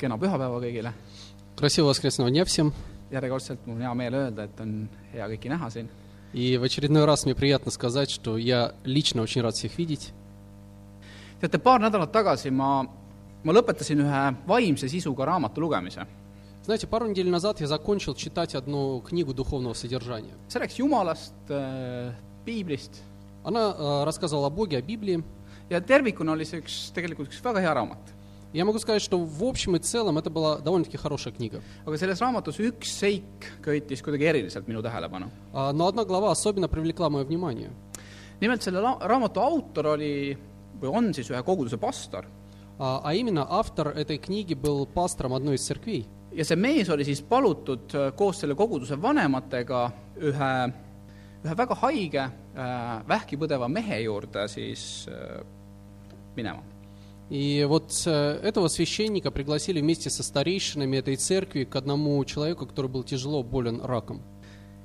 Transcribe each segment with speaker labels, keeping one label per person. Speaker 1: kena pühapäeva kõigile ,
Speaker 2: Красивого воскресного дня всем.
Speaker 1: järjekordselt mul on hea meel öelda , et on hea kõiki näha siin
Speaker 2: И в очередной раз мне приятно сказать, что я лично очень рад всех видеть.
Speaker 1: teate , paar nädalat tagasi ma , ma lõpetasin ühe vaimse sisuga raamatu lugemise .
Speaker 2: Знаете, пару недель назад я закончил читать одну книгу духовного содержания.
Speaker 1: see rääkis Jumalast , piiblist
Speaker 2: Она э, рассказывала о Боге, о Библии.
Speaker 1: ja tervikuna oli see üks , tegelikult üks väga hea raamat .
Speaker 2: Я могу сказать, что в общем и целом это была довольно-таки хорошая книга.
Speaker 1: aga selles raamatus üks seik köitis kuidagi eriliselt minu tähelepanu .
Speaker 2: А, Но одна глава особенно привлекла мое внимание.
Speaker 1: nimelt selle la- raamatu autor oli või on siis ühe koguduse pastor
Speaker 2: А а именно, автор этой книги был пастором одной из церквей.
Speaker 1: ja see mees oli siis palutud äh, koos selle koguduse vanematega ühe , ühe väga haige äh, vähki põdeva mehe juurde siis äh, minema .
Speaker 2: И вот э, этого священника пригласили вместе со старейшинами этой церкви к одному человеку, который был тяжело болен раком.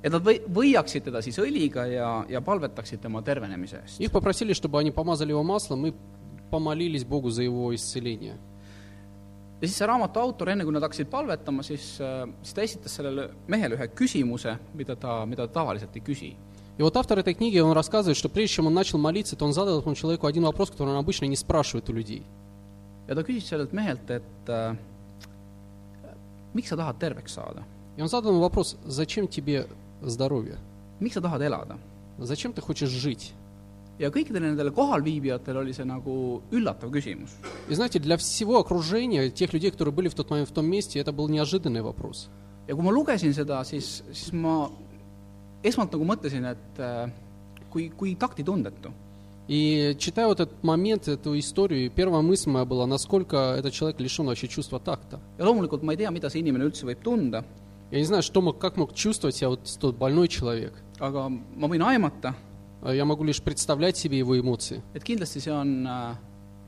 Speaker 1: et nad või- , võiaksid teda siis õliga ja , ja palvetaksid tema tervenemise eest .
Speaker 2: Их попросили, чтобы они помазали его маслом и помолились Богу за его исцеление.
Speaker 1: ja siis see raamatu autor , enne kui nad hakkasid palvetama , siis , siis ta esitas sellele mehele ühe küsimuse , mida ta , mida ta tavaliselt ei küsi .
Speaker 2: И вот автор этой книги, он рассказывает, что прежде чем он начал молиться, то он задал этому человеку один вопрос, который он обычно не спрашивает у людей.
Speaker 1: ja ta küsis sellelt mehelt , et äh, miks sa tahad terveks saada ?
Speaker 2: И он задал ему вопрос, зачем тебе здоровье?
Speaker 1: miks sa tahad elada ?
Speaker 2: Зачем ты хочешь жить?
Speaker 1: ja kõikidele nendele kohalviibijatel oli see nagu üllatav küsimus .
Speaker 2: И знаете, для всего окружения, тех людей, которые были в тот момент в том месте, это был неожиданный вопрос.
Speaker 1: ja kui ma lugesin seda , siis , siis ma esmalt nagu mõtlesin , et äh, kui , kui taktitundetu .
Speaker 2: И читая вот этот момент, эту историю, первая мысль моя была, насколько этот человек лишен вообще чувства такта.
Speaker 1: ja loomulikult ma ei tea , mida see inimene üldse võib tunda ,
Speaker 2: Я не знаю, что мог, как мог чувствовать себя вот тот больной человек.
Speaker 1: aga ma võin aimata ,
Speaker 2: А Я могу лишь представлять себе его эмоции.
Speaker 1: et kindlasti see on ,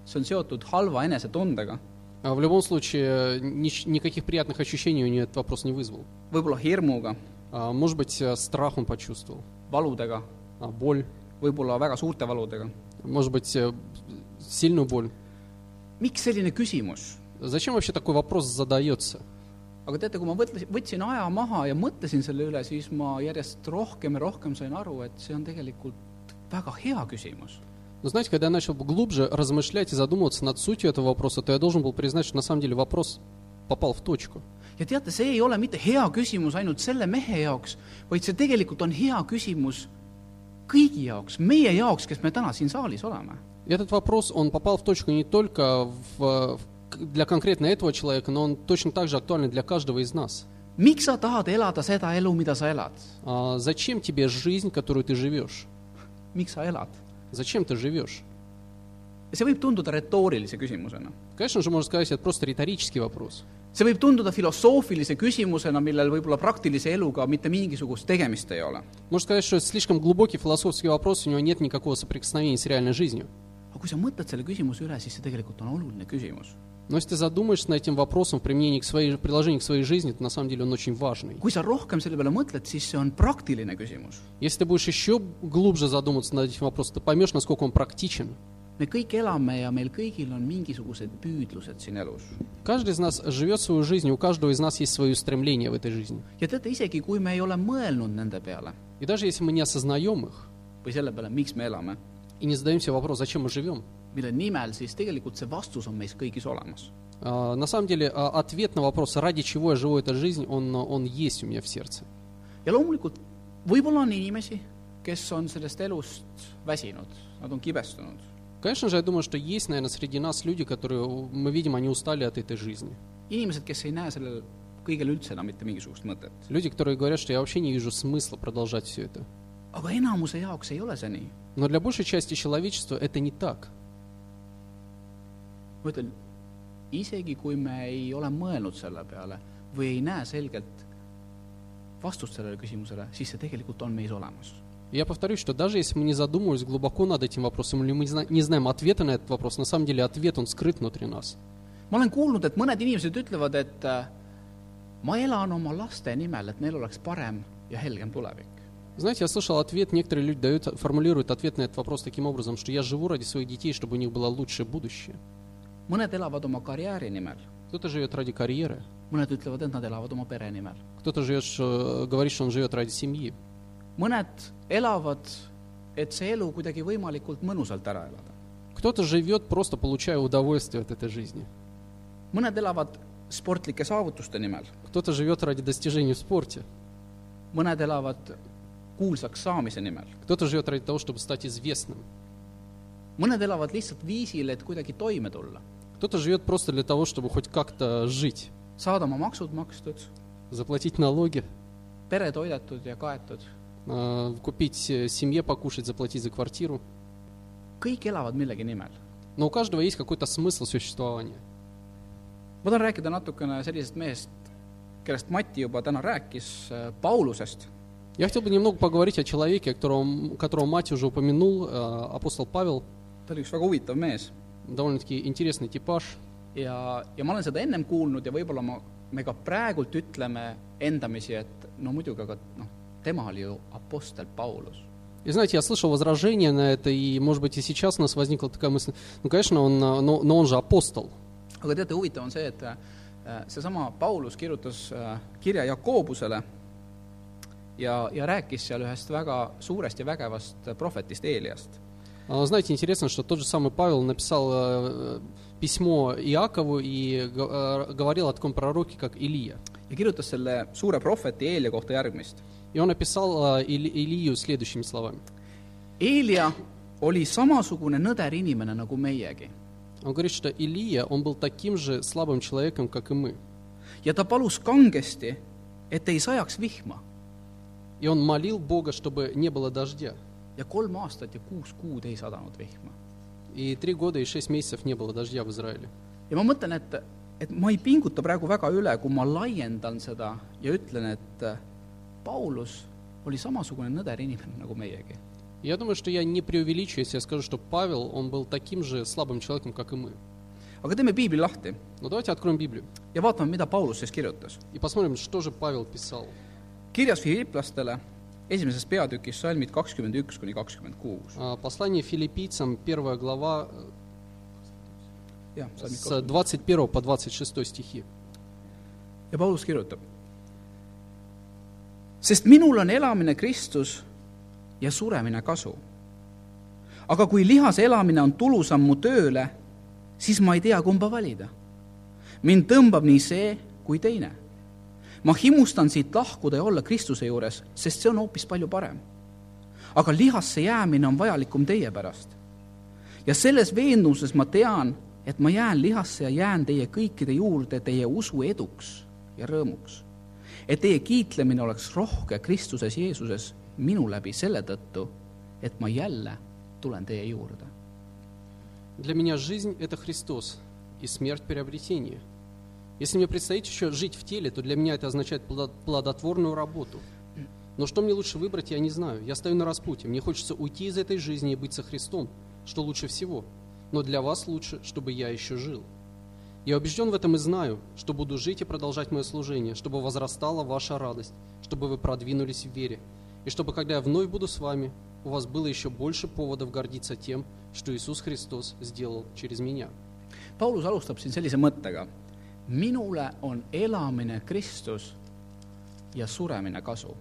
Speaker 1: see on seotud halva enesetundega ,
Speaker 2: А В любом случае, э, нич- никаких приятных ощущений у нее этот вопрос не вызвал.
Speaker 1: võib-olla hirmuga ,
Speaker 2: А, Может быть, э, страх он почувствовал,
Speaker 1: valudega ,
Speaker 2: а, боль,
Speaker 1: võib-olla väga suurte valudega .
Speaker 2: может быть, э, сильную боль.
Speaker 1: miks selline küsimus ?
Speaker 2: Зачем вообще такой вопрос задается?
Speaker 1: aga teate , kui ma võtlesin , võtsin aja maha ja mõtlesin selle üle , siis ma järjest rohkem ja rohkem sain aru , et see on tegelikult väga hea küsimus .
Speaker 2: Но Ну, знаете, когда я начал глубже размышлять и задумываться над сутью этого вопроса, то я должен был признать, что на самом деле вопрос попал в точку.
Speaker 1: ja teate , see ei ole mitte hea küsimus ainult selle mehe jaoks , vaid see tegelikult on hea küsimus kõigi jaoks , meie jaoks , kes me täna siin saalis oleme .
Speaker 2: И этот вопрос, он попал в точку не только в, э, в- к- для конкретно этого человека, но он точно так же актуален для каждого из нас.
Speaker 1: miks sa tahad elada seda elu , mida sa elad ?
Speaker 2: А зачем тебе жизнь, которую ты живешь?
Speaker 1: miks sa elad ?
Speaker 2: Зачем ты живешь?
Speaker 1: ja see võib tunduda retoorilise küsimusena .
Speaker 2: Конечно же, можно сказать, это просто риторический вопрос.
Speaker 1: see võib tunduda filosoofilise küsimusena , millel võib-olla praktilise eluga mitte mingisugust tegemist ei ole .
Speaker 2: Можно сказать, что это слишком глубокий философский вопрос, у него нет никакого соприкосновения с реальной жизнью.
Speaker 1: aga kui sa mõtled selle küsimuse üle , siis see tegelikult on oluline küsimus .
Speaker 2: Но если ты задумаешься над этим вопросом в применении к своей, приложении к своей жизни, то на самом деле он очень важный.
Speaker 1: kui sa rohkem selle peale mõtled , siis see on praktiline küsimus .
Speaker 2: Если ты будешь еще глубже задуматься над этим вопросом, ты поймешь, насколько он практичен.
Speaker 1: me kõik elame ja meil kõigil on mingisugused püüdlused siin elus .
Speaker 2: Каждый из нас живет свою жизнь, и у каждого из нас есть свои устремления в этой жизни.
Speaker 1: ja teate , isegi kui me ei ole mõelnud nende peale
Speaker 2: И даже если мы не осознаем их
Speaker 1: või selle peale , miks me elame ,
Speaker 2: и не задаем себе вопрос, зачем мы живем,
Speaker 1: mille nimel , siis tegelikult see vastus on meis kõigis olemas .
Speaker 2: а, на самом деле а, ответ на вопрос, ради чего я живу эту жизнь, он, он есть у меня в сердце.
Speaker 1: ja loomulikult võib-olla on inimesi , kes on sellest elust väsinud , nad on kibestunud .
Speaker 2: Конечно же, я думаю, что есть, наверное, среди нас люди, которые, мы видим, они устали от этой жизни.
Speaker 1: inimesed , kes ei näe sellel kõigel üldse enam mitte mingisugust mõtet .
Speaker 2: Люди, которые говорят, что я вообще не вижу смысла продолжать все это.
Speaker 1: aga enamuse jaoks ei ole see nii
Speaker 2: Но для большей части человечества это не так.
Speaker 1: ma ütlen , isegi kui me ei ole mõelnud selle peale või ei näe selgelt vastust sellele küsimusele , siis see tegelikult on meis olemas .
Speaker 2: Я повторюсь, что даже если мы не задумывались глубоко над этим вопросом, или мы не зна- не знаем ответа на этот вопрос, на самом деле ответ, он скрыт внутри нас.
Speaker 1: ma olen kuulnud , et mõned inimesed ütlevad , et äh, ma elan oma laste nimel , et neil oleks parem ja helgem tulevik .
Speaker 2: Знаете, я слышал ответ, некоторые люди дают, формулируют ответ на этот вопрос таким образом, что я живу ради своих детей, чтобы у них было лучшее будущее.
Speaker 1: mõned elavad oma karjääri nimel ,
Speaker 2: Кто-то живет ради карьеры,
Speaker 1: mõned ütlevad , et nad elavad oma pere nimel .
Speaker 2: кто-то живет, что- э, говорит, что он живет ради семьи,
Speaker 1: mõned elavad , et see elu kuidagi võimalikult mõnusalt ära elada .
Speaker 2: кто-то живет, просто получая удовольствие от этой жизни,
Speaker 1: mõned elavad sportlike saavutuste nimel ,
Speaker 2: кто-то живет ради достижений в спорте,
Speaker 1: mõned elavad kuulsaks saamise nimel ,
Speaker 2: кто-то живет ради того, чтобы стать известным,
Speaker 1: mõned elavad lihtsalt viisil , et kuidagi toime tulla ,
Speaker 2: кто-то живет просто для того, чтобы хоть как-то жить,
Speaker 1: saada oma maksud makstud ,
Speaker 2: заплатить налоги,
Speaker 1: pere toidetud ja kaetud .
Speaker 2: э, купить э, семье покушать, заплатить за квартиру.
Speaker 1: kõik elavad millegi nimel .
Speaker 2: Но у каждого есть какой-то смысл существования.
Speaker 1: ma tahan rääkida natukene sellisest mehest , kellest Mati juba täna rääkis , Paulusest .
Speaker 2: Я хотел бы немного поговорить о человеке, о котором, которого мать уже упомянул, э, апостол Павел,
Speaker 1: ta oli üks väga huvitav mees
Speaker 2: довольно-таки интересный типаж.
Speaker 1: ja , ja ma olen seda ennem kuulnud ja võib-olla ma , me ka praegult ütleme endamisi , et no muidugi , aga noh , tema oli ju apostel Paulus .
Speaker 2: И знаете, я слышал возражения на это, и, может быть, и сейчас у нас возникла такая мысль, ну, конечно, он, э, но, но он же апостол.
Speaker 1: aga teate , huvitav on see , et äh, seesama Paulus kirjutas äh, kirja Jakobusele ja , ja rääkis seal ühest väga suurest ja vägevast prohvetist Eeliast .
Speaker 2: А, Знаете, интересно, что тот же самый Павел написал э, письмо Иакову и г- э, говорил о таком пророке, как Илия.
Speaker 1: ja kirjutas selle suure prohveti Eelia kohta järgmist .
Speaker 2: И он описал э, Или- Илию следующими словами.
Speaker 1: Eelia oli samasugune nõder inimene nagu meiegi
Speaker 2: Он говорит, что Илия, он был таким же слабым человеком, как и мы.
Speaker 1: ja ta palus kangesti , et ei sajaks vihma
Speaker 2: И он молил Бога, чтобы не было дождя.
Speaker 1: ja kolm aastat ja kuus kuud ei sadanud vihma .
Speaker 2: И три года и шесть месяцев не было дождя в Израиле.
Speaker 1: ja ma mõtlen , et , et ma ei pinguta praegu väga üle , kui ma laiendan seda ja ütlen , et äh, Paulus oli samasugune nõder inimene nagu meiegi .
Speaker 2: Я думаю, что я не преувеличу, если я скажу, что Павел, он был таким же слабым человеком, как и мы.
Speaker 1: aga teeme piibli lahti
Speaker 2: Но давайте откроем Библию
Speaker 1: ja vaatame , mida Paulus siis kirjutas .
Speaker 2: и посмотрим, что же Павел писал.
Speaker 1: kirjas Filiplastele esimeses peatükis salmid kakskümmend üks kuni kakskümmend kuus .
Speaker 2: А, Послание филиппийцам, первая глава, э,
Speaker 1: jah , salmid
Speaker 2: с
Speaker 1: kakskümmend
Speaker 2: 21 по 26 стихи.
Speaker 1: ja Paulus kirjutab . sest minul on elamine Kristus ja suremine kasu . aga kui lihas elamine on tulusam mu tööle , siis ma ei tea , kumba valida . mind tõmbab nii see kui teine . ma himustan siit lahkuda ja olla Kristuse juures , sest see on hoopis palju parem . aga lihasse jäämine on vajalikum teie pärast . ja selles veendumuses ma tean , et ma jään lihasse ja jään teie kõikide juurde teie usu eduks ja rõõmuks . et teie kiitlemine oleks rohke Kristuses Jeesuses minu läbi selle tõttu , et ma jälle tulen teie juurde .
Speaker 2: Для меня жизнь – это Христос, и смерть – приобретение. Если мне предстоит еще жить в теле, то для меня это означает плодо- плодотворную работу. Но что мне лучше выбрать, я не знаю. Я стою на распутье. Мне хочется уйти из этой жизни и быть со Христом, что лучше всего. Но для вас лучше, чтобы я еще жил. Я убежден в этом и знаю, что буду жить и продолжать мое служение, чтобы возрастала ваша радость, чтобы вы продвинулись в вере, и чтобы, когда я вновь буду с вами, у вас было еще больше поводов гордиться тем, что Иисус Христос сделал через меня.
Speaker 1: Paulus alustab siin sellise mõttega . minule on elamine Kristus ja suremine kasu .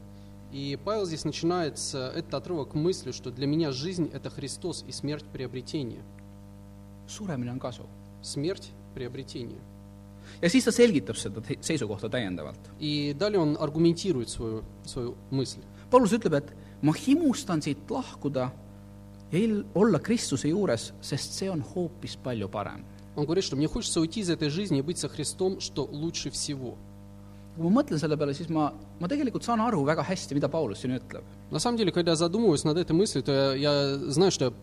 Speaker 2: И Павел здесь начинает с, э, этот отрывок мыслью, что для меня жизнь – это Христос и смерть – приобретение.
Speaker 1: suremine on kasu .
Speaker 2: Смерть – приобретение.
Speaker 1: ja siis ta selgitab seda te- seisukohta täiendavalt .
Speaker 2: И далее он аргументирует свою, свою мысль.
Speaker 1: Paulus ütleb , et ma himustan siit lahkuda ja il- olla Kristuse juures , sest see on hoopis palju parem .
Speaker 2: Он говорит, что «мне хочется уйти из этой жизни и быть со Христом, что лучше всего».
Speaker 1: kui ma mõtlen selle peale , siis ma , ma tegelikult saan aru väga hästi , mida Paulus siin ütleb .
Speaker 2: На самом деле, когда я задумываюсь над этой мыслью, то я, я знаю, что я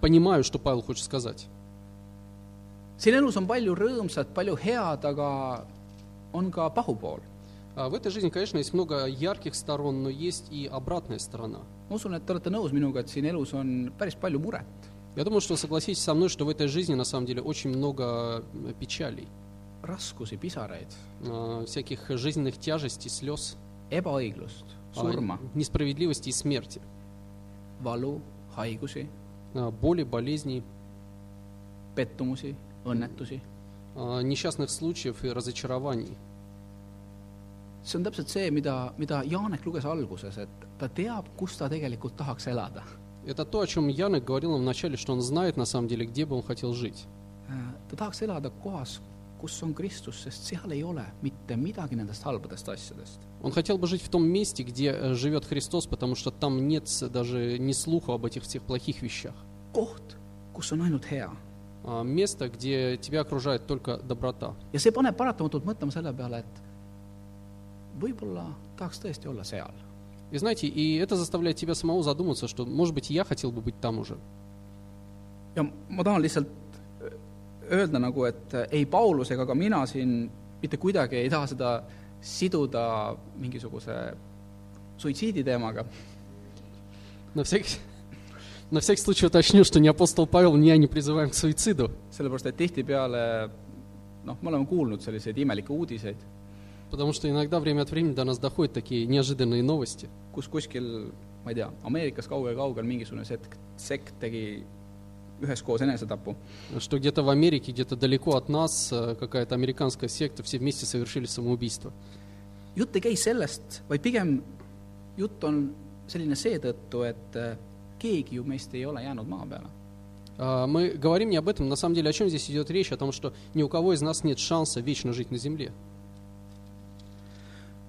Speaker 2: понимаю, что Павел хочет сказать.
Speaker 1: siin elus on palju rõõmsat , palju head , aga on ka pahupool .
Speaker 2: А В этой жизни, конечно, есть много ярких сторон, но есть и обратная сторона.
Speaker 1: ma usun , et te olete nõus minuga , et siin elus on päris palju muret ,
Speaker 2: Я думаю, что вы согласитесь со мной, что в этой жизни на самом деле очень много э, печалей,
Speaker 1: raskusi , pisaraid ,
Speaker 2: э, всяких жизненных тяжестей, слез,
Speaker 1: ebaõiglust ,
Speaker 2: а,
Speaker 1: surma ,
Speaker 2: несправедливости и смерти,
Speaker 1: valu , haigusi ,
Speaker 2: э, боли, болезней,
Speaker 1: pettumusi , õnnetusi ,
Speaker 2: а, несчастных случаев и разочарований.
Speaker 1: see on täpselt see , mida , mida Janek luges alguses , et ta teab , kus ta tegelikult tahaks elada .
Speaker 2: Это то, о чем Янек говорил нам вначале, что он знает на самом деле, где бы он хотел жить.
Speaker 1: ta tahaks elada kohas , kus on Kristus , sest seal ei ole mitte midagi nendest halbadest asjadest .
Speaker 2: Он хотел бы жить в том месте, где э, живет Христос, потому что там нет с- даже ни слуху об этих всех плохих вещах.
Speaker 1: koht , kus on ainult hea
Speaker 2: А Место, где тебя окружает только доброта.
Speaker 1: ja see paneb paratamatult mõtlema selle peale , et võib-olla tahaks tõesti olla seal .
Speaker 2: И знаете, и это заставляет тебя самого задуматься, что, может быть, я хотел бы быть там уже.
Speaker 1: ja ma tahan lihtsalt öelda nagu , et ei Paulus ega ka mina siin mitte kuidagi ei taha seda siduda mingisuguse suitsiidi teemaga ,
Speaker 2: На всякий, на всякий случай уточню, что ни апостол Павел, ни я не призываем к суициду,
Speaker 1: sellepärast et tihtipeale noh , me oleme kuulnud selliseid imelikke uudiseid ,
Speaker 2: потому что иногда время от времени до нас доходят такие неожиданные новости.
Speaker 1: kus kuskil , ma ei tea , Ameerikas kaugel-kaugel mingisugune sekt , sekt tegi üheskoos enesetapu .
Speaker 2: Что где-то в Америке, где-то далеко от нас, э, какая-то американская секта, все вместе совершили самоубийство.
Speaker 1: jutt ei käi sellest , vaid pigem jutt on selline seetõttu , et äh, keegi ju meist ei ole jäänud maa peale .
Speaker 2: А, Мы говорим не об этом, на самом деле о чем здесь идет речь, о том, что ни у кого из нас нет шанса вечно жить на земле.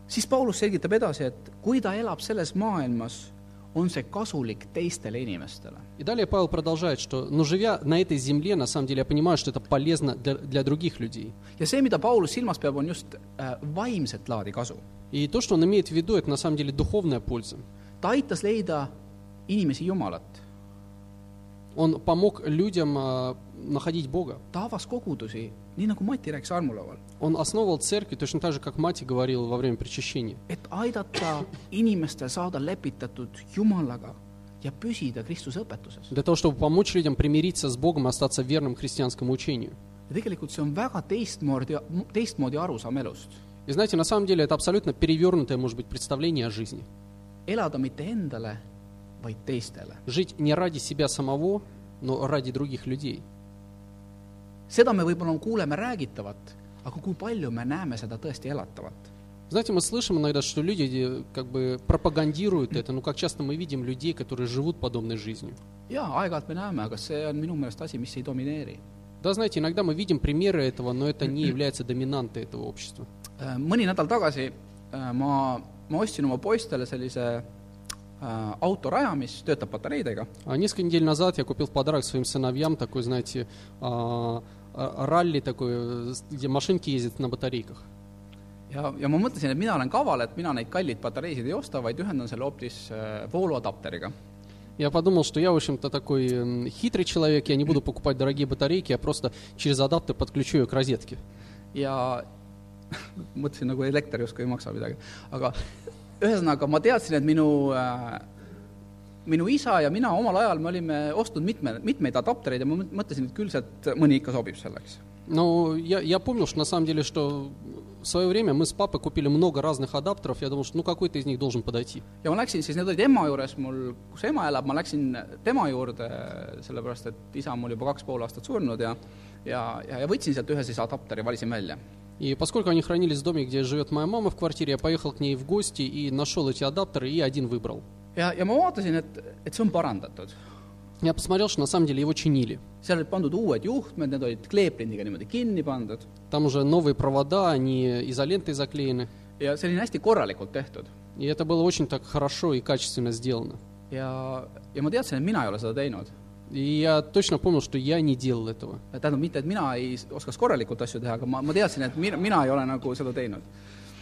Speaker 1: siis Paulus selgitab edasi , et kui ta elab selles maailmas , on see kasulik teistele inimestele .
Speaker 2: И далее Павел продолжает, что, но живя на этой земле, на самом деле я понимаю, что это полезно для, для других людей.
Speaker 1: ja see , mida Paulus silmas peab , on just äh, vaimset laadi kasu .
Speaker 2: И то, что он имеет в виду, это на самом деле духовная польза.
Speaker 1: ta aitas leida inimesi Jumalat ,
Speaker 2: Он помог людям а, находить Бога.
Speaker 1: ta avas kogudusi , nii nagu Mati rääkis armulaual ,
Speaker 2: Он основывал церкви точно так же, как мать говорила во время причащения,
Speaker 1: et aidata inimestel saada lepitatud Jumalaga ja püsida Kristuse õpetuses .
Speaker 2: для того, чтобы помочь людям примириться с Богом и остаться верным христианскому учению.
Speaker 1: ja tegelikult see on väga teistmoodi , teistmoodi arusaam elust .
Speaker 2: И знаете, на самом деле это абсолютно перевернутое, может быть, представление о жизни.
Speaker 1: elada mitte endale , vaid teistele .
Speaker 2: Жить не ради себя самого, но ради других людей.
Speaker 1: seda me võib-olla kuuleme räägitavat , aga kui palju me näeme seda tõesti elatavat ?
Speaker 2: Знаете, мы слышим иногда, что люди э, как бы пропагандируют это, но как часто мы видим людей, которые живут подобной жизнью.
Speaker 1: jaa , aeg-ajalt me näeme , aga see on minu meelest asi , mis ei domineeri .
Speaker 2: Да, знаете, иногда мы видим примеры этого, но это не является доминантой этого общества.
Speaker 1: mõni nädal tagasi äh, ma , ma ostsin oma poistele sellise äh, autoraja , mis töötab patareidega
Speaker 2: А Несколько недель назад я купил в подарок своим сыновьям такой, знаете, а, а, ралли такой, э, с- где машинки ездят на батарейках.
Speaker 1: ja , ja ma mõtlesin , et mina olen kaval , et mina neid kalleid patareisid ei osta , vaid ühendan selle hoopis äh, vooluadapteriga
Speaker 2: Я подумал, что я, в общем-то, такой м, хитрый человек, я не буду покупать дорогие батарейки, я просто через адаптер подключу ее к розетке.
Speaker 1: ja mõtlesin nagu elekter justkui ei maksa midagi , aga ühesõnaga ma teadsin , et minu äh, , minu isa ja mina omal ajal , me olime ostnud mitme , mitmeid adaptereid ja ma mõt- mõtlesin , et küll sealt mõni ikka sobib selleks .
Speaker 2: Но Ну, я, я помнил, что на самом деле, что в свое время мы с папой купили много разных адаптеров, я думал, что ну какой-то из них должен подойти.
Speaker 1: ja ma läksin siis , need olid ema juures mul , kus ema elab , ma läksin tema juurde , sellepärast et isa on mul juba kaks pool aastat surnud ja ja , ja , ja võtsin sealt ühe siis adapteri , valisin välja .
Speaker 2: И поскольку они хранились в доме, где живет моя мама в квартире, я поехал к ней в гости и нашел эти адаптеры и один выбрал.
Speaker 1: ja , ja ma vaatasin , et , et see on parandatud .
Speaker 2: Я посмотрел, что на самом деле его чинили.
Speaker 1: seal olid pandud uued juhtmed , need olid kleeprindiga niimoodi kinni pandud
Speaker 2: Там уже новые провода, они изолентой заклеены.
Speaker 1: ja selline hästi korralikult tehtud .
Speaker 2: И это было очень так хорошо и качественно сделано.
Speaker 1: ja , ja ma teadsin , et mina ei ole seda teinud .
Speaker 2: И я точно помнил, что я не делал этого.
Speaker 1: tähendab , mitte et mina ei s- oskaks korralikult asju teha , aga ma , ma teadsin , et mina , mina ei ole nagu seda teinud .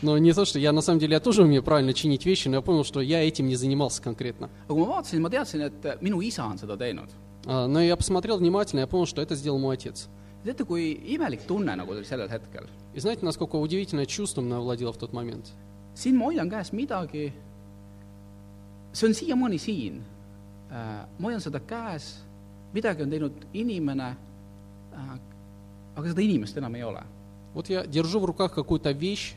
Speaker 2: Но не то, что я на самом деле, я тоже умею правильно чинить вещи, но я понял, что я этим не занимался конкретно.
Speaker 1: aga kui ma vaatasin , ma teadsin , et minu isa on seda teinud .
Speaker 2: А, Но я посмотрел внимательно, я понял, что это сделал мой отец.
Speaker 1: teate , kui imelik tunne nagu oli sellel hetkel .
Speaker 2: И знаете, насколько удивительное чувство мной овладело в тот момент?
Speaker 1: siin ma hoian käes midagi , see on siiamaani siin . ma hoian seda käes , midagi on teinud inimene , aga seda inimest enam ei ole
Speaker 2: Вот я держу в руках какую-то вещь,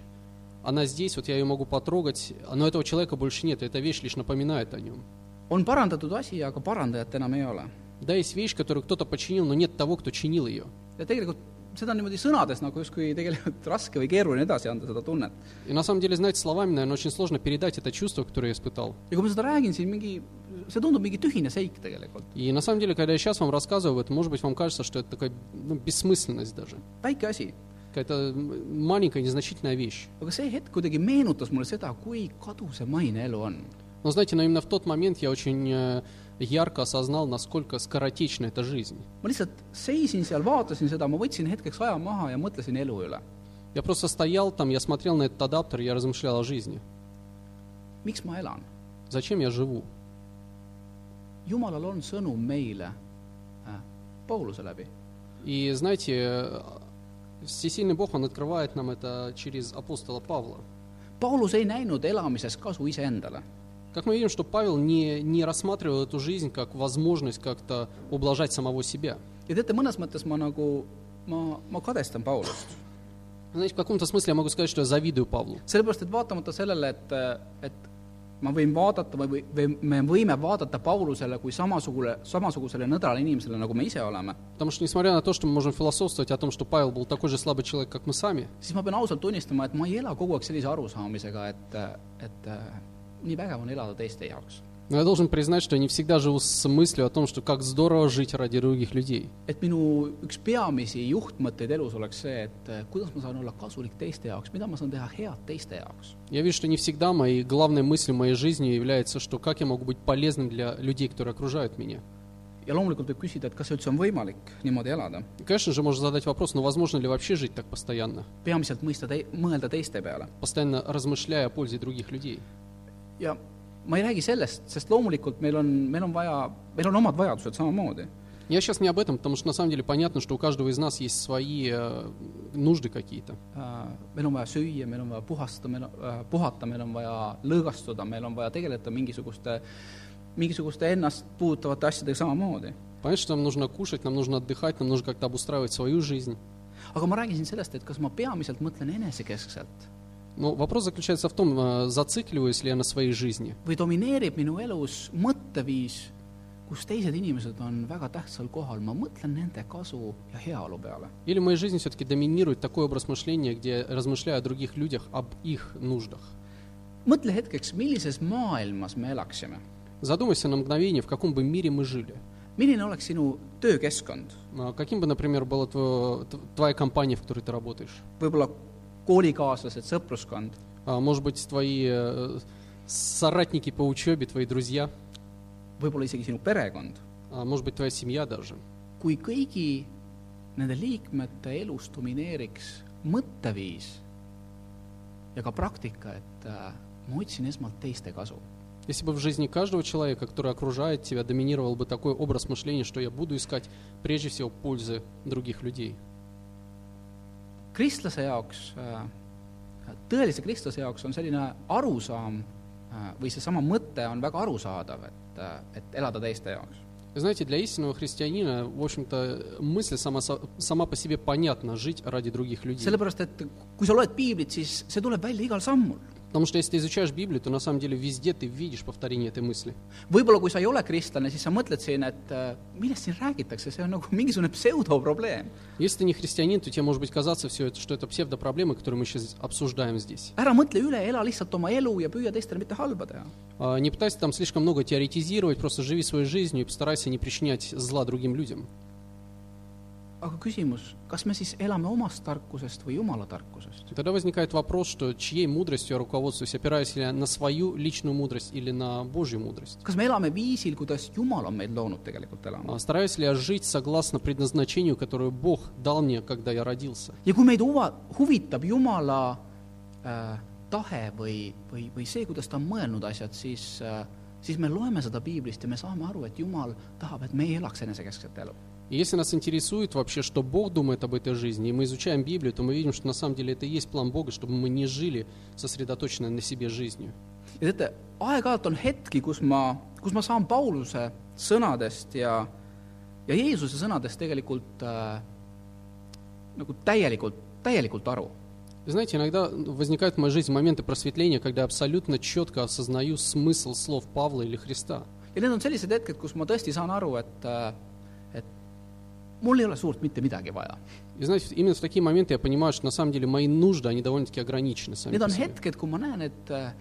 Speaker 2: она здесь, вот я ее могу потрогать, но этого человека больше нет, и эта вещь лишь напоминает о нем.
Speaker 1: on parandatud asi , aga parandajat enam ei ole
Speaker 2: Да, есть вещь, которую кто-то починил, но нет того, кто чинил ее.
Speaker 1: ja tegelikult seda niimoodi sõnades nagu justkui tegelikult raske või keeruline edasi anda, seda tunnet .
Speaker 2: И на самом деле, знаете, словами, наверное, очень сложно передать это чувство, которое я испытал.
Speaker 1: ja kui ma seda räägin , siis mingi , see tundub mingi tühine seik tegelikult .
Speaker 2: И на самом деле, когда я сейчас вам рассказываю об этом, может быть, вам кажется, что это такая ну, бессмысленность даже.
Speaker 1: väike asi ,
Speaker 2: Какая-то м, маленькая, незначительная вещь.
Speaker 1: aga see hetk kuidagi meenutas mulle seda , kui kadu see maine elu on .
Speaker 2: Но Ну, знаете, но именно в тот момент я очень э, ярко осознал, насколько скоротечна эта жизнь.
Speaker 1: ma lihtsalt seisin seal , vaatasin seda , ma võtsin hetkeks aja maha ja mõtlesin elu üle .
Speaker 2: Я просто стоял там, я смотрел на этот адаптер, я размышлял о жизни.
Speaker 1: miks ma elan ?
Speaker 2: Зачем я живу?
Speaker 1: jumalal on sõnum meile äh, Pauluse läbi .
Speaker 2: И знаете, э, всесильный Бог, Он открывает нам это через апостола Павла.
Speaker 1: Paulus ei näinud elamises kasu iseendale .
Speaker 2: Как мы видим, что Павел не, не рассматривал эту жизнь как возможность как-то ублажать самого себя.
Speaker 1: ja teate , mõnes mõttes ma nagu , ma , ma kadestan Paulust .
Speaker 2: Знаете, в каком-то смысле я могу сказать, что я завидую Павлу.
Speaker 1: sellepärast , et vaatamata sellele , et , et ma võin vaadata või , või me võime vaadata Paulusele kui samasugune , samasugusele nõdrale inimesele , nagu me ise oleme ,
Speaker 2: Потому что, несмотря на то, что мы можем философствовать о том, что Павел был такой же слабый человек, как мы сами,
Speaker 1: siis ma pean ausalt tunnistama , et ma ei ela kogu aeg sellise arusaamisega , et , et äh, nii vägev on elada teiste jaoks .
Speaker 2: но я должен признать, что я не всегда живу с мыслью о том, что как здорово жить ради других людей.
Speaker 1: et minu üks peamisi juhtmõtteid elus oleks see , et äh, kuidas ma saan olla kasulik teiste jaoks , mida ma saan teha head teiste jaoks .
Speaker 2: Я вижу, что не всегда моей главной мыслью моей жизни является, что как я могу быть полезным для людей, которые окружают меня.
Speaker 1: ja loomulikult võib küsida , et kas see üldse on võimalik niimoodi elada ,
Speaker 2: И, конечно же, можно задать вопрос, ну возможно ли вообще жить так постоянно,
Speaker 1: peamiselt mõista tei- , mõelda teiste peale .
Speaker 2: постоянно размышляя о пользе других людей.
Speaker 1: ja ma ei räägi sellest , sest loomulikult meil on , meil on vaja , meil on omad vajadused samamoodi .
Speaker 2: Я сейчас не об этом, потому что на самом деле понятно, что у каждого из нас есть свои э, нужды какие-то.
Speaker 1: Äh, meil on vaja süüa , meil on vaja puhasta , meil on , puhata , meil on vaja lõõgastuda , meil on vaja tegeleda mingisuguste , mingisuguste ennast puudutavate asjadega samamoodi .
Speaker 2: Понятно, что нам нужно кушать, нам нужно отдыхать, нам нужно как-то обустраивать свою жизнь.
Speaker 1: aga ma räägin siin sellest , et kas ma peamiselt mõtlen enesekeskselt
Speaker 2: Но вопрос заключается в том, э, зацикливаюсь ли я на своей жизни,
Speaker 1: või domineerib minu elus mõtteviis , kus teised inimesed on väga tähtsal kohal , ma mõtlen nende kasu ja heaolu peale .
Speaker 2: или в моей жизни все-таки доминирует такой образ мышления, где я размышляю о других людях, об их нуждах.
Speaker 1: mõtle hetkeks , millises maailmas me elaksime ,
Speaker 2: Задумайся на мгновение, в каком бы мире мы жили.
Speaker 1: milline oleks sinu töökeskkond
Speaker 2: А Каким бы, например, была тво- т- твоя компания, в которой ты работаешь?
Speaker 1: võib-olla koolikaaslased , sõpruskond ,
Speaker 2: А, Может быть, твои э, соратники по учебе, твои друзья,
Speaker 1: võib-olla isegi sinu perekond ,
Speaker 2: а, может быть, твоя семья даже.
Speaker 1: kui kõigi nende liikmete elus domineeriks mõtteviis ja ka praktika , et äh, ma otsin esmalt teiste kasu ,
Speaker 2: Если бы в жизни каждого человека, который окружает тебя, доминировал бы такой образ мышления, что я буду искать прежде всего пользы других людей.
Speaker 1: kristlase jaoks , tõelise kristlase jaoks on selline arusaam äh, või seesama mõte on väga arusaadav , et , et elada teiste jaoks .
Speaker 2: Вы Знаете, для истинного христианина, в общем-то, мысль сама, со- сама по себе понятна, жить ради других людей.
Speaker 1: sellepärast , et kui sa loed piiblit , siis see tuleb välja igal sammul .
Speaker 2: Потому что если ты изучаешь Библию, то на самом деле везде ты видишь повторение этой мысли.
Speaker 1: võib-olla kui sa ei ole kristlane , siis sa mõtled siin , et äh, millest siin räägitakse , see on nagu mingisugune pseudoprobleem .
Speaker 2: Если ты не христианин, то тебе может быть казаться все это, что это псевдопроблемы, которые мы сейчас обсуждаем здесь.
Speaker 1: ära mõtle üle , ela lihtsalt oma elu ja püüa teistele mitte halba teha .
Speaker 2: А, Не пытайся там слишком много теоретизировать, просто живи своей жизнью и постарайся не причинять зла другим людям.
Speaker 1: aga küsimus , kas me siis elame omast tarkusest või Jumala tarkusest ?
Speaker 2: Тогда возникает вопрос, что чьей мудростью я руководствуюсь, опираюсь ли я на свою личную мудрость или на Божью мудрость?
Speaker 1: kas me elame viisil , kuidas Jumal on meid loonud tegelikult
Speaker 2: А
Speaker 1: elama ?
Speaker 2: Стараюсь ли я жить согласно предназначению, которое Бог дал мне, когда я родился?
Speaker 1: ja kui meid huva- , huvitab Jumala äh, tahe või , või , või see , kuidas ta on mõelnud asjad , siis äh, siis me loeme seda piiblist ja me saame aru , et Jumal tahab , et meie elaks enesekeskset elu .
Speaker 2: И если нас интересует вообще, что Бог думает об этой жизни, и мы изучаем Библию, то мы видим, что на самом деле это и есть план Бога, чтобы мы не жили сосредоточенной на себе жизнью.
Speaker 1: ja teate , aeg-ajalt on hetki , kus ma , kus ma saan Pauluse sõnadest ja , ja Jeesuse sõnadest tegelikult äh, nagu täielikult , täielikult aru .
Speaker 2: Вы Знаете, иногда возникают в моей жизни моменты просветления, когда я абсолютно четко осознаю смысл слов Павла или Христа.
Speaker 1: ja need on sellised hetked , kus ma tõesti saan aru , et äh, , et mul ei ole suurt mitte midagi vaja .
Speaker 2: И знаете, именно в такие моменты я понимаю, что на самом деле мои нужды, они довольно-таки ограничены сами
Speaker 1: Need
Speaker 2: по
Speaker 1: on
Speaker 2: себе.
Speaker 1: hetked , kui ma näen , et äh,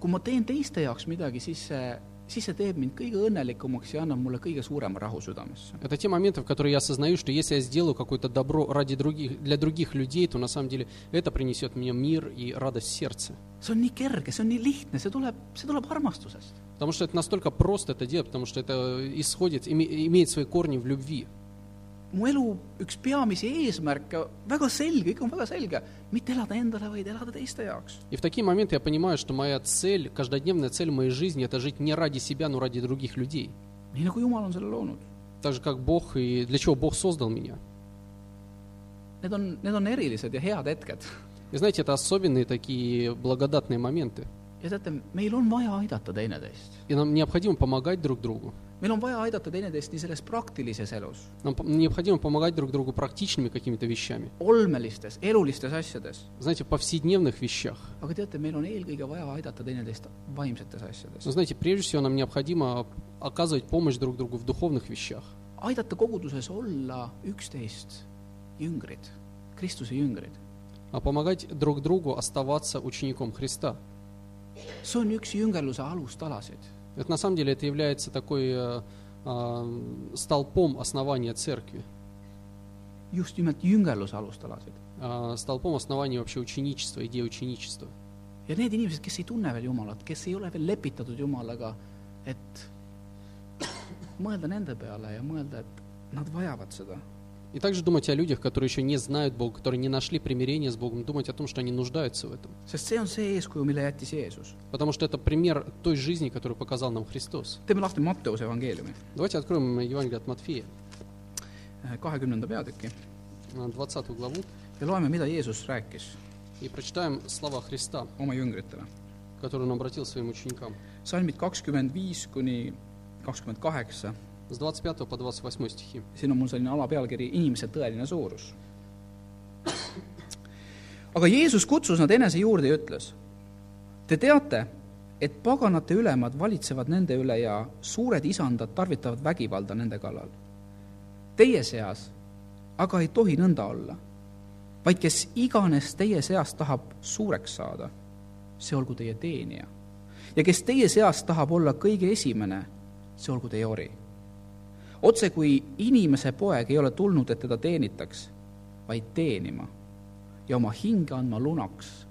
Speaker 1: kui ma teen teiste jaoks midagi , siis see , siis see teeb mind kõige õnnelikumaks ja annab mulle kõige suurema rahu südamesse .
Speaker 2: Это те моменты, в которые я осознаю, что если я сделаю какое-то добро ради других, для других людей, то на самом деле это принесет мне мир и радость в сердце.
Speaker 1: see on nii kerge , see on nii lihtne , see tuleb , see tuleb armastusest .
Speaker 2: Потому что это настолько просто это делать, потому что это исходит, име- имеет свои корни в любви.
Speaker 1: mu elu üks peamisi eesmärke , väga selge , kõik on väga selge , mitte elada endale , vaid elada teiste jaoks .
Speaker 2: И в такие моменты я понимаю, что моя цель, каждодневная цель моей жизни, это жить не ради себя, но ради других людей.
Speaker 1: nii nagu Jumal on selle loonud .
Speaker 2: Так же, как Бог и для чего Бог создал меня.
Speaker 1: Need on , need on erilised ja head hetked .
Speaker 2: И знаете, это особенные такие благодатные моменты.
Speaker 1: ja teate , meil on vaja aidata teineteist .
Speaker 2: И нам необходимо помогать друг другу.
Speaker 1: meil on vaja aidata teineteist nii selles praktilises elus ,
Speaker 2: Нам по- необходимо помогать друг другу практичными какими-то вещами.
Speaker 1: olmelistes , elulistes asjades ,
Speaker 2: Знаете, в повседневных вещах.
Speaker 1: aga teate , meil on eelkõige vaja aidata teineteist vaimsetes asjades
Speaker 2: Но . знаете, прежде всего нам необходимо оказывать помощь друг другу в духовных вещах.
Speaker 1: aidata koguduses olla üksteist jüngrid , Kristuse jüngrid .
Speaker 2: А помогать друг другу оставаться учеником Христа.
Speaker 1: see on üks jüngerluse alustalasid .
Speaker 2: Это на самом деле это является такой э, а, столпом основания церкви,
Speaker 1: just nimelt jüngerluse alustalasid .
Speaker 2: а, столпом основания вообще ученичества, идеи ученичества.
Speaker 1: ja need inimesed , kes ei tunne veel Jumalat , kes ei ole veel lepitatud Jumalaga , et mõelda nende peale ja mõelda , et nad vajavad seda .
Speaker 2: И также думать о людях, которые еще не знают Бога, которые не нашли примирения с Богом, думать о том, что они нуждаются в этом.
Speaker 1: sest see on see eeskuju , mille jättis Jeesus .
Speaker 2: Потому что это пример той жизни, которую показал нам Христос.
Speaker 1: teeme lahti Matteuse evangeeliumi ,
Speaker 2: Давайте откроем Евангелие от Матфея,
Speaker 1: eh, kahekümnenda peatüki
Speaker 2: э, 20 главу,
Speaker 1: ja loeme , mida Jeesus rääkis
Speaker 2: и prочитаем слова Христа,
Speaker 1: oma jüngritele .
Speaker 2: которые он обратил своим ученикам.
Speaker 1: salmid kakskümmend viis kuni kakskümmend kaheksa ,
Speaker 2: С 25 по 28 стихи.
Speaker 1: siin on mul selline alapealkiri Inimese tõeline suurus . aga Jeesus kutsus nad enese juurde ja ütles . Te teate , et paganate ülemad valitsevad nende üle ja suured isandad tarvitavad vägivalda nende kallal . Teie seas aga ei tohi nõnda olla , vaid kes iganes teie seas tahab suureks saada , see olgu teie teenija . ja kes teie seas tahab olla kõige esimene , see olgu teie ori otse kui inimese poeg ei ole tulnud , et teda teenitaks , vaid teenima ja oma hinge andma lunaks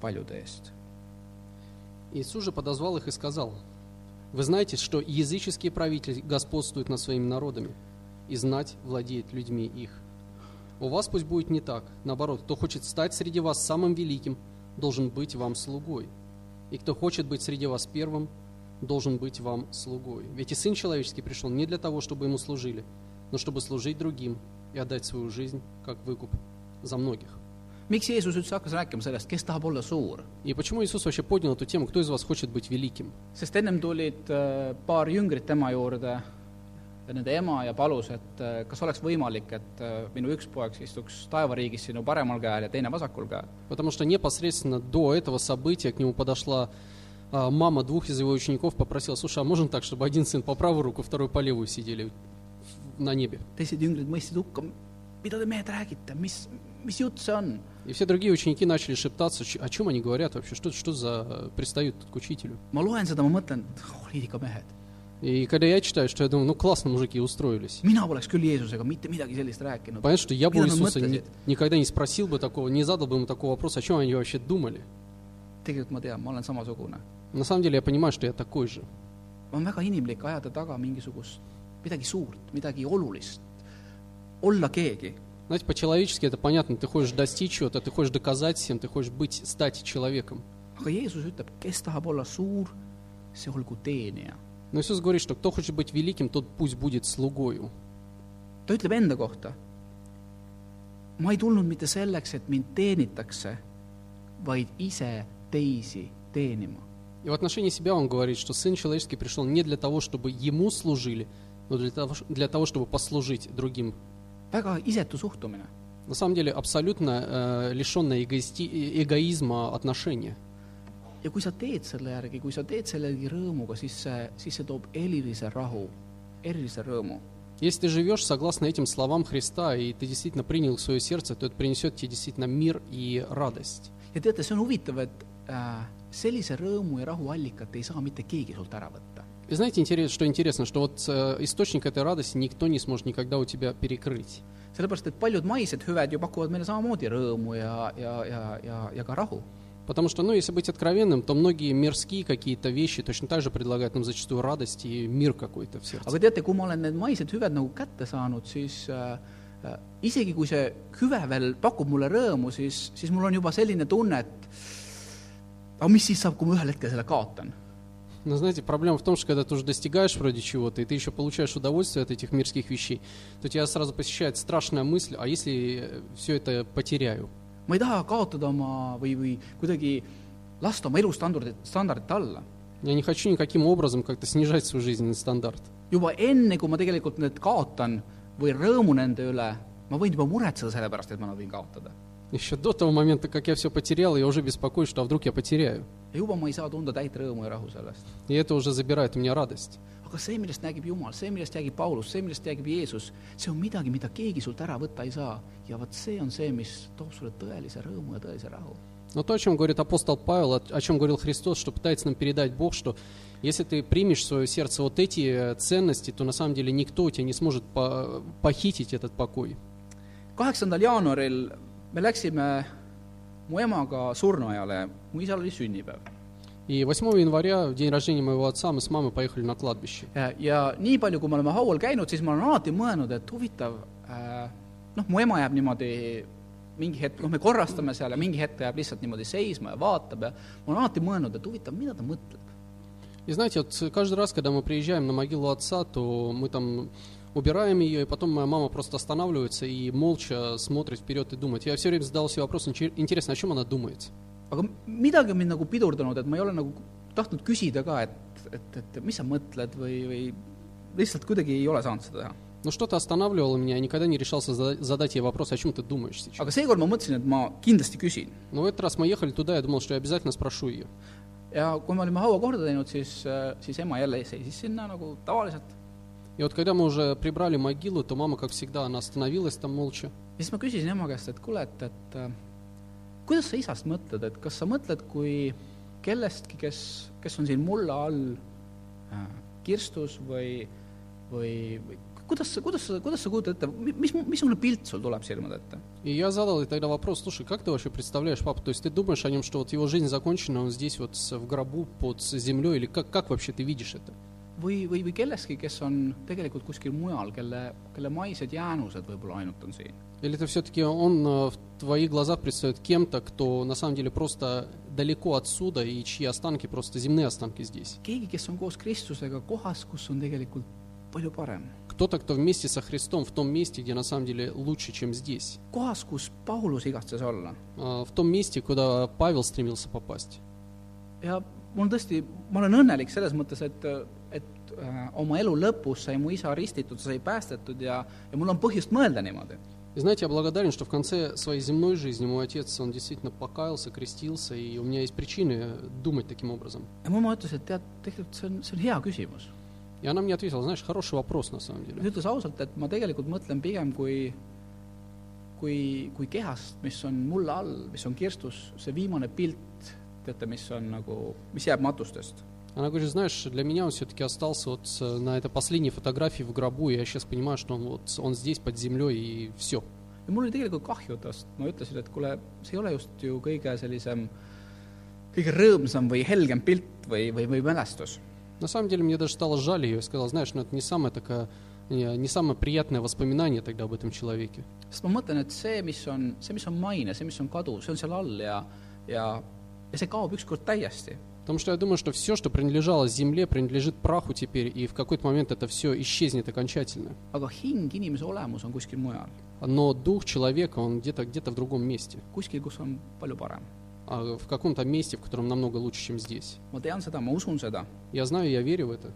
Speaker 1: paljude eest .
Speaker 2: Иисус же подозвал их и сказал, «Вы знаете, что языческие правители господствуют над своими народами, и знать владеет людьми их. У вас пусть будет не так. Наоборот, кто хочет стать среди вас самым великим, должен быть вам слугой. И кто хочет быть среди вас первым, должен быть вам слугой. Ведь и Сын Человеческий пришел не для того, чтобы ему служили, но чтобы служить другим и отдать свою жизнь как выкуп за многих».
Speaker 1: miks Jeesus üldse hakkas rääkima sellest , kes tahab olla suur ?
Speaker 2: И почему Иисус вообще поднял эту тему, кто из вас хочет быть великим?
Speaker 1: sest ennem tulid äh, paar jüngrit tema juurde , nende ema ja palus , et äh, kas oleks võimalik , et äh, minu üks poeg istuks taevariigis sinu paremal käel ja teine vasakul käel .
Speaker 2: Потому что непосредственно до этого события к нему подошла а, мама двух из его учеников, попросила, слушай, а можно так, чтобы один сын по правую руку, второй по левую сидели в- на небе?
Speaker 1: teised jüngrid mõistsid hukka , mida te mehed räägite , mis , mis jutt see on ?
Speaker 2: И все другие ученики начали шептаться, «Ч- о чем они говорят вообще, что, что за э, пристают тут к учителю.
Speaker 1: ma loen seda , ma mõtlen , et oh, liidiga mehed
Speaker 2: И когда я читаю, что я думаю, ну классно мужики устроились.
Speaker 1: mina poleks küll Jeesusega mitte midagi sellist rääkinud .
Speaker 2: Понятно, что я бы у
Speaker 1: Mida nad
Speaker 2: Иисуса ни-
Speaker 1: mõtlesid?
Speaker 2: никогда не спросил бы такого, не задал бы ему такого вопроса, о чем они вообще думали.
Speaker 1: tegelikult ma tean , ma olen samasugune .
Speaker 2: На самом деле я понимаю, что я такой же.
Speaker 1: ma olen väga inimlik ajada taga mingisugust , midagi suurt , midagi olulist , olla keegi .
Speaker 2: Знаете, по-человечески это понятно, ты хочешь достичь чего-то, ты хочешь доказать всем, ты хочешь быть, стать человеком.
Speaker 1: aga Jeesus ütleb , kes tahab olla suur , see olgu teenija .
Speaker 2: Но Иисус говорит, что кто хочет быть великим, тот пусть будет слугою.
Speaker 1: ta ütleb enda kohta . ma ei tulnud mitte selleks , et mind teenitakse , vaid ise teisi teenima .
Speaker 2: И в отношении себя он говорит, что Сын Человеческий пришел не для того, чтобы Ему служили, но для того, ш- для того чтобы послужить другим.
Speaker 1: väga isetu suhtumine .
Speaker 2: На самом деле абсолютно э, лишенное эгоисти- э, эгоизма отношения.
Speaker 1: ja kui sa teed selle järgi , kui sa teed selle järgi rõõmuga , siis see , siis see toob erilise rahu , erilise rõõmu .
Speaker 2: Если ты живешь согласно этим словам Христа, и ты действительно принял их в свое сердце, то это принесет тебе действительно мир и радость.
Speaker 1: ja teate , see on huvitav , et äh, sellise rõõmu ja rahu allikat ei saa mitte keegi sult ära võtta .
Speaker 2: И знаете, интерес- что интересно, что вот э, источник этой радости никто не сможет никогда у тебя перекрыть.
Speaker 1: sellepärast , et paljud maised hüved ju pakuvad meile samamoodi rõõmu ja , ja , ja , ja , ja ka rahu .
Speaker 2: Потому что, ну, если быть откровенным, то многие мирские какие-то вещи точно так же предлагают нам зачастую радость и мир какой-то в сердце.
Speaker 1: aga teate , kui ma olen need maised hüved nagu kätte saanud , siis äh, äh, isegi kui see hüve veel pakub mulle rõõmu , siis , siis mul on juba selline tunne , et aga mis siis saab , kui ma ühel hetkel selle kaotan ?
Speaker 2: Но знаете, проблема в том, что когда ты уже достигаешь вроде чего-то, и ты еще получаешь удовольствие от этих мирских вещей, то тебя сразу посещает страшная мысль, а если все это потеряю?
Speaker 1: ma ei taha kaotada oma või , või kuidagi lasta oma elustandardit , standardit alla .
Speaker 2: Я не хочу никаким образом как-то снижать свой жизненный стандарт.
Speaker 1: juba enne , kui ma tegelikult need kaotan või rõõmu nende üle , ma võin juba muretseda selle pärast , et ma nad võin kaotada .
Speaker 2: Еще до того момента, как я все потерял, я уже беспокоюсь, что а вдруг я потеряю.
Speaker 1: ja juba ma ei saa tunda täit rõõmu ja rahu sellest .
Speaker 2: И это уже забирает у меня радость.
Speaker 1: aga see , millest räägib Jumal , see , millest räägib Paulus , see , millest räägib Jeesus , see on midagi , mida keegi sult ära võtta ei saa . ja vot see on see , mis toob sulle tõelise rõõmu ja tõelise rahu .
Speaker 2: Но то, о чем говорит апостол Павел, о- о чем говорил Христос, что пытается нам передать Бог, что если ты примешь в свое сердце вот эти э, ценности, то на самом деле никто у тебя не сможет по- похитить этот покой.
Speaker 1: kaheksandal jaanuaril me läksime mu emaga surnuaiale , mu isal oli sünnipäev .
Speaker 2: И 8 января, в день рождения моего отца, мы с мамой поехали на кладбище.
Speaker 1: ja , ja nii palju , kui me oleme haual käinud , siis ma olen alati mõelnud , et huvitav äh, , noh , mu ema jääb niimoodi mingi hetk , noh , me korrastame seal ja mingi hetk ta jääb lihtsalt niimoodi seisma ja vaatab ja ma olen alati mõelnud , et huvitav , mida ta mõtleb .
Speaker 2: И знаете, вот каждый раз, когда мы приезжаем на могилу отца, то мы там убираем ее, и потом моя мама просто останавливается и молча смотрит вперед и думает. Я все время задал себе вопрос, «Инче- интересно, о чем она думает?
Speaker 1: aga midagi on mind nagu pidurdanud , et ma ei ole nagu tahtnud küsida ka , et , et , et mis sa mõtled või , või lihtsalt kuidagi ei ole saanud seda teha .
Speaker 2: Но что-то останавливало меня, я никогда не решался зада- задать ей вопрос, о чем ты думаешь сейчас.
Speaker 1: aga seekord ma mõtlesin , et ma kindlasti küsin .
Speaker 2: Но в этот раз мы ехали туда, я думал, что я обязательно спрошу ее.
Speaker 1: ja kui me olime haua korda teinud , siis , siis ema jälle seisis sinna nagu tavaliselt
Speaker 2: И вот когда мы уже прибрали могилу, то мама, как всегда, она остановилась там молча.
Speaker 1: ja siis ma küsisin ema käest , et kuule , et , et äh, kuidas sa isast mõtled , et kas sa mõtled kui kellestki , kes , kes on siin mulla all äh, kirstus või , või , või kuidas sa , kuidas sa , kuidas sa kujutad ette , mis , missugune pilt sul tuleb silmade ette ?
Speaker 2: И я задал ей тогда вопрос, слушай, как ты вообще представляешь папу? То есть ты думаешь о нем, что вот его жизнь закончена, он здесь вот с- в гробу под землей, или как, как вообще ты видишь это?
Speaker 1: või , või , või kellestki , kes on tegelikult kuskil mujal , kelle , kelle maised jäänused võib-olla ainult on siin .
Speaker 2: Или это все-таки он э, в твоих глазах предстает кем-то, кто на самом деле просто далеко отсюда, и чьи останки просто земные останки здесь?
Speaker 1: keegi , kes on koos Kristusega kohas , kus on tegelikult palju parem .
Speaker 2: Кто-то, кто вместе со Христом в том месте, где на самом деле лучше, чем здесь.
Speaker 1: kohas , kus Paulus igatses olla .
Speaker 2: Э, В том месте, куда Павел стремился попасть.
Speaker 1: ja mul tõesti , ma olen õnnelik selles mõttes , et , et äh, oma elu lõpus sai mu isa ristitud , sai päästetud ja , ja mul on põhjust mõelda niimoodi .
Speaker 2: И знаете, я благодарен, что в конце своей земной жизни мой отец, он действительно покаялся, крестился, и у меня есть причины э, думать таким образом.
Speaker 1: ja mu ema ütles , et tead , tegelikult see on , see on hea küsimus .
Speaker 2: И она мне ответила, знаешь, хороший вопрос на самом
Speaker 1: ta
Speaker 2: деле.
Speaker 1: ütles ausalt , et ma tegelikult mõtlen pigem kui , kui , kui kehast , mis on mulla all , mis on kirstus , see viimane pilt , teate , mis on nagu , mis jääb matustest .
Speaker 2: Она говорит, знаешь, для меня он все-таки остался вот э, на этой последней фотографии в гробу, и я сейчас понимаю, что он вот он здесь под землей и все.
Speaker 1: ja mul oli tegelikult kahju tast , ma ütlesin , et kuule , see ei ole just ju kõige sellisem , kõige rõõmsam või helgem pilt või , või , või mälestus .
Speaker 2: На самом деле мне даже стало жаль ее, я сказал, знаешь, ну это не самое такая не не самое приятное воспоминание тогда об этом человеке.
Speaker 1: sest ma mõtlen , et see , mis on , see , mis on maine , see , mis on kadu , see on seal all ja , ja , ja see kaob ükskord täiesti .
Speaker 2: Потому что я думаю, что все, что принадлежало земле, принадлежит праху теперь, и в какой-то момент это все исчезнет окончательно.
Speaker 1: aga hing , inimese olemus on kuskil mujal ,
Speaker 2: Но дух человека, он где-то где в другом месте,
Speaker 1: kuskil , kus on palju parem .
Speaker 2: а в каком-то месте, в котором намного лучше, чем здесь.
Speaker 1: ma tean seda , ma usun seda
Speaker 2: Я знаю, я верю в это.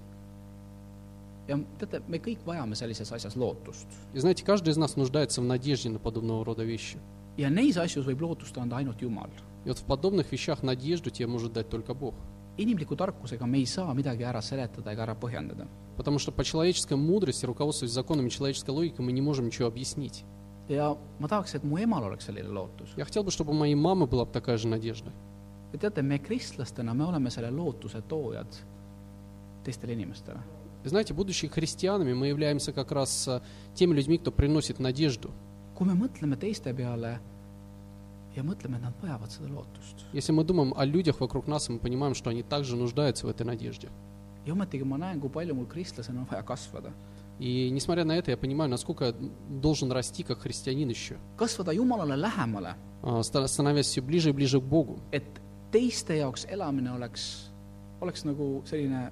Speaker 1: ja teate , me kõik vajame sellises asjas lootust .
Speaker 2: И знаете, каждый из нас нуждается в надежде на подобного рода вещи.
Speaker 1: ja neis asjus võib lootust anda ainult Jumal .
Speaker 2: И вот в подобных вещах надежду тебе может дать только Бог.
Speaker 1: inimliku tarkusega me ei saa midagi ära seletada ega ära põhjendada .
Speaker 2: Потому что по человеческой мудрости, руководствуясь законами человеческой логики, мы не можем ничего объяснить.
Speaker 1: ja ma tahaks , et mu emal oleks selline lootus .
Speaker 2: Я хотел бы, чтобы у моей мамы была бы такая же надежда.
Speaker 1: ja teate , me kristlastena , me oleme selle lootuse toojad teistele inimestele .
Speaker 2: И знаете, будучи христианами, мы являемся как раз э, теми людьми, кто приносит надежду.
Speaker 1: kui me mõtleme teiste peale ja mõtleme , et nad vajavad seda lootust
Speaker 2: Если мы думаем о людях вокруг нас, мы понимаем, что они также нуждаются в этой надежде.
Speaker 1: ja ometigi ma näen , kui palju mul kristlasena on vaja kasvada .
Speaker 2: И несмотря на это, я понимаю, насколько я должен расти как христианин еще,
Speaker 1: kasvada Jumalale lähemale ,
Speaker 2: а, ста- становясь все ближе и ближе к Богу,
Speaker 1: et teiste jaoks elamine oleks , oleks nagu selline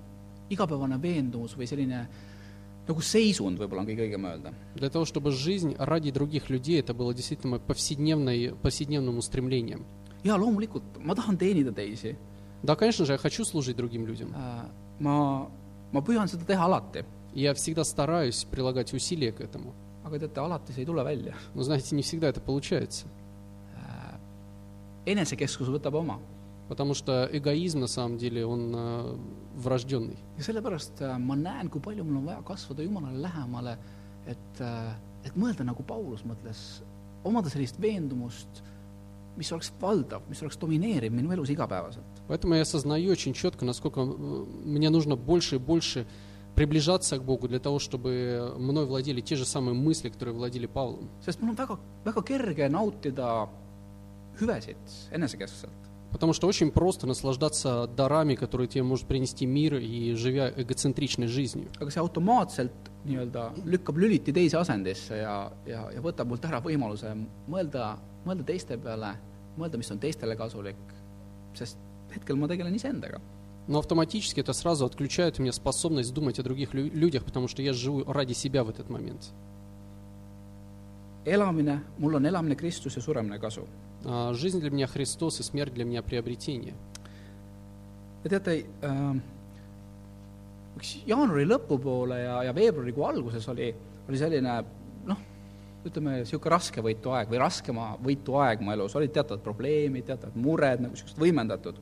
Speaker 1: igapäevane veendumus või selline nagu seisund võib-olla on kõige õigem öelda .
Speaker 2: для того, чтобы жизнь ради других людей это было действительно моим повседневной, повседневным устремлением.
Speaker 1: jaa , loomulikult , ma tahan teenida teisi .
Speaker 2: Да, конечно же, я хочу служить другим людям.
Speaker 1: Äh, ma , ma püüan seda teha alati ,
Speaker 2: И я всегда стараюсь прилагать усилия к этому.
Speaker 1: aga teate , alati see ei tule välja .
Speaker 2: Но, знаете, не всегда это получается.
Speaker 1: enesekeskus võtab oma
Speaker 2: Потому что эгоизм, на самом деле, он э, врожденный.
Speaker 1: ja sellepärast äh, ma näen , kui palju mul on vaja kasvada Jumalale lähemale , et , et mõelda nagu Paulus mõtles , omada sellist veendumust , mis oleks valdav , mis oleks domineeriv minu elus igapäevaselt .
Speaker 2: Поэтому я осознаю очень четко, насколько э, мне нужно больше и больше приближаться к Богу для того, чтобы мной владели те же самые мысли, которые владели Павлом.
Speaker 1: sest mul on väga , väga kerge nautida hüvesid enesekeskselt .
Speaker 2: Потому что очень просто наслаждаться дарами, которые тебе может принести мир и живя эгоцентричной жизнью.
Speaker 1: aga see automaatselt nii-öelda lükkab lüliti teise asendisse ja , ja , ja võtab mult ära võimaluse mõelda , mõelda teiste peale , mõelda , mis on teistele kasulik , sest hetkel ma tegelen iseendaga
Speaker 2: Но автоматически это сразу отключает у меня способность думать о других лю- людях, потому что я живу ради себя в этот момент.
Speaker 1: elamine , mul on elamine Kristus ja suremine kasu .
Speaker 2: А, Жизнь для меня Христос и смерть для меня приобретение.
Speaker 1: ja teate äh, , üks jaanuari lõpupoole ja , ja veebruarikuu alguses oli , oli selline noh , ütleme niisugune raskevõitu aeg või raskema võitu aeg mu elus , olid teatavad probleemid , teatavad mured nagu niisugused võimendatud ,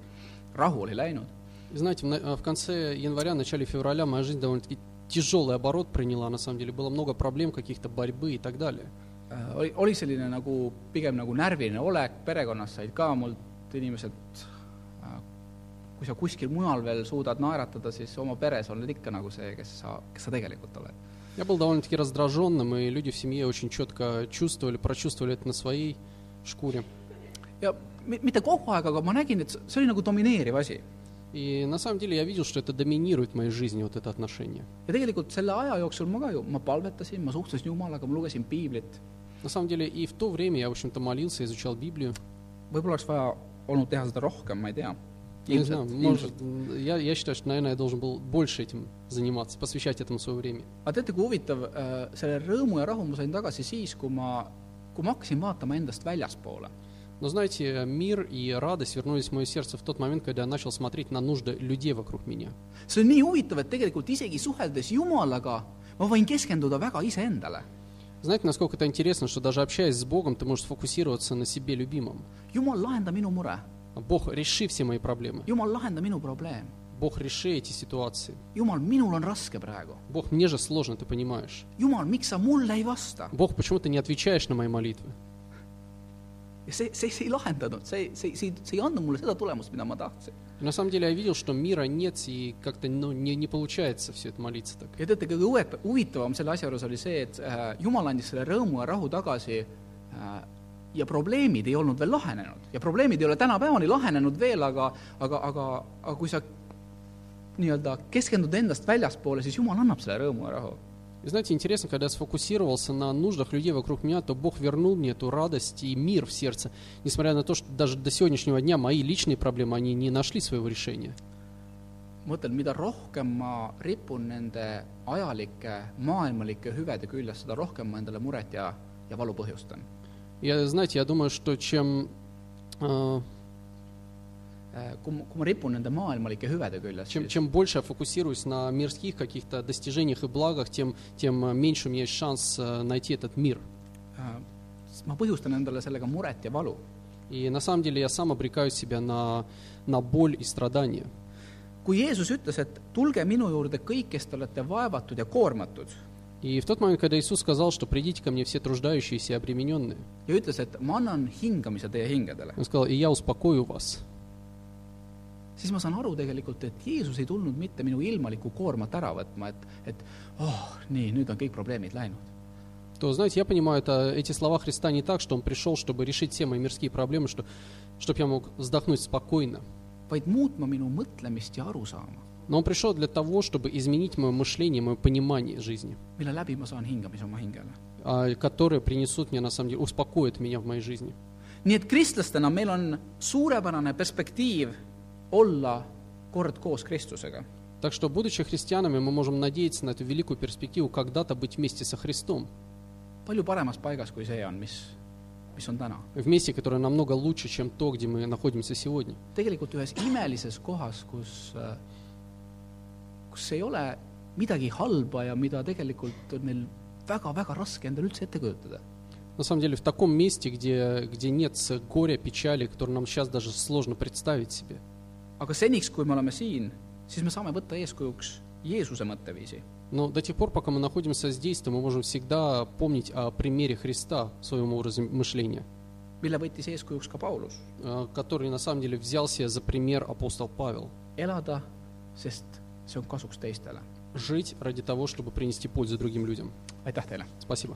Speaker 1: rahu oli läinud .
Speaker 2: И Знаете, в на- э, в конце января, начале февраля моя жизнь довольно-таки тяжелый оборот приняла, на самом деле. Было много проблем, каких-то борьбы и так далее.
Speaker 1: Äh, oli , oli selline nagu pigem nagu närviline olek , perekonnas said ka mult inimesed äh, kui sa kuskil mujal veel suudad naeratada , siis oma peres oled ikka nagu see , kes sa , kes sa tegelikult oled .
Speaker 2: Я был довольно-таки раздраженным, и люди в семье очень четко чувствовали, прочувствовали это на своей шкуре.
Speaker 1: ja mi- mitte kogu aeg , aga ma nägin , et s- see oli nagu domineeriv asi .
Speaker 2: И на самом деле я видел, что это доминирует в моей жизни, вот это отношение.
Speaker 1: ja tegelikult selle aja jooksul ma ka ju , ma palvetasin , ma suhtlesin Jumalaga , ma lugesin piiblit ,
Speaker 2: На самом деле и в то время я, в общем-то, молился, изучал Библию.
Speaker 1: võib-olla oleks vaja olnud teha seda rohkem , ma ei tea .
Speaker 2: Не знаю, может, я, я считаю, что, наверное, я должен был больше этим заниматься, посвящать этому свое время.
Speaker 1: aga teate , kui huvitav , selle rõõmu ja rahu ma sain tagasi siis , kui ma , kui ma hakkasin vaatama endast väljaspoole .
Speaker 2: Но знаете, мир и радость вернулись в мое сердце в тот момент, когда я начал смотреть на нужды людей вокруг меня.
Speaker 1: see on nii huvitav , et tegelikult isegi suheldes Jumalaga , ma võin keskenduda väga iseendale .
Speaker 2: Знаете, насколько это интересно, что даже общаясь с Богом, ты можешь сфокусироваться на себе любимом.
Speaker 1: Jumal , lahenda minu mure ,
Speaker 2: Бог, реши все мои проблемы.
Speaker 1: Jumal , lahenda minu probleem .
Speaker 2: Бог, реши эти ситуации.
Speaker 1: Jumal , minul on raske praegu .
Speaker 2: Бог, мне же сложно, ты понимаешь.
Speaker 1: Jumal , miks sa mulle ei vasta ?
Speaker 2: Бог, почему ты не отвечаешь на мои молитвы?
Speaker 1: ja see , see , see ei lahendanud , see , see , see , see ei andnud mulle seda tulemust , mida ma tahtsin .
Speaker 2: И на самом деле я видел, что мира нет, и как-то ну, не, не получается все это молиться так.
Speaker 1: ja teate , kõige huvet- huvitavam selle asja juures oli see , et äh, Jumal andis selle rõõmu ja rahu tagasi äh, ja probleemid ei olnud veel lahenenud ja probleemid ei ole tänapäevani lahenenud veel , aga , aga , aga , aga kui sa nii-öelda keskendud endast väljaspoole , siis Jumal annab selle rõõmu ja rahu .
Speaker 2: И знаете, интересно, когда я сфокусировался на нуждах людей вокруг меня, то Бог вернул мне эту радость и мир в сердце, несмотря на то, что даже до сегодняшнего дня мои личные проблемы, они не нашли своего решения.
Speaker 1: ma mõtlen , mida rohkem ma ripun nende ajalike maailmalike hüvede küljes , seda rohkem ma endale muret ja , ja valu põhjustan .
Speaker 2: Я, знаете, я думаю, что чем... э,
Speaker 1: Äh, kui ma , kui ma ripun nende maailmalike hüvede küljes ,
Speaker 2: Чем, чем больше я фокусируюсь на мирских каких-то достижениях и благах, тем, тем э, меньше у меня есть шанс э, найти этот мир.
Speaker 1: Äh, siis ma põhjustan endale sellega muret ja valu .
Speaker 2: И на самом деле я сам обрекаю себя на, на боль и страдания.
Speaker 1: kui Jeesus ütles , et tulge minu juurde kõik , kes te olete vaevatud ja koormatud
Speaker 2: И в тот момент, когда Иисус сказал, что «придите ко мне все труждающиеся и обремененные»,
Speaker 1: ja ütles , et ma annan hingamise teie hingedele ,
Speaker 2: Он сказал «и я успокою вас».
Speaker 1: siis ma saan aru tegelikult , et Jeesus ei tulnud mitte minu ilmalikku koormat ära võtma , et , et oh , nii , nüüd on kõik probleemid läinud .
Speaker 2: То, знаете, я понимаю, это, эти слова Христа не так, что Он пришел, чтобы решить все мои мирские проблемы, что, чтобы я мог вздохнуть спокойно.
Speaker 1: vaid muutma minu mõtlemist ja arusaama ,
Speaker 2: Но Он пришел для того, чтобы изменить мое мышление, мое понимание жизни,
Speaker 1: mille läbi ma saan hingamise oma hingele .
Speaker 2: а, которые принесут мне, на самом деле, успокоят меня в моей жизни.
Speaker 1: nii et kristlastena meil on suurepärane perspektiiv olla kord koos Kristusega .
Speaker 2: Так что, будучи христианами, мы можем надеяться на эту великую перспективу когда-то быть вместе со Христом,
Speaker 1: palju paremas paigas , kui see on , mis , mis on täna .
Speaker 2: вместе, которое намного лучше, чем то, где мы находимся сегодня.
Speaker 1: tegelikult ühes imelises kohas , kus , kus ei ole midagi halba ja mida tegelikult on meil väga-väga raske endale üldse ette kujutada .
Speaker 2: На самом деле, в таком месте, где, где нет э, горя, печали, которое нам сейчас даже сложно представить себе.
Speaker 1: aga seniks , kui me oleme siin , siis me saame võtta eeskujuks Jeesuse mõtteviisi .
Speaker 2: Но до тех пор, пока мы находимся здесь, то мы можем всегда помнить о примере Христа в своем образе мышления,
Speaker 1: mille võttis eeskujuks ka Paulus .
Speaker 2: э, который на самом деле взял себе за пример апостол Павел.
Speaker 1: elada , sest see on kasuks teistele .
Speaker 2: Жить ради того, чтобы принести пользу другим людям.
Speaker 1: aitäh teile!
Speaker 2: Спасибо.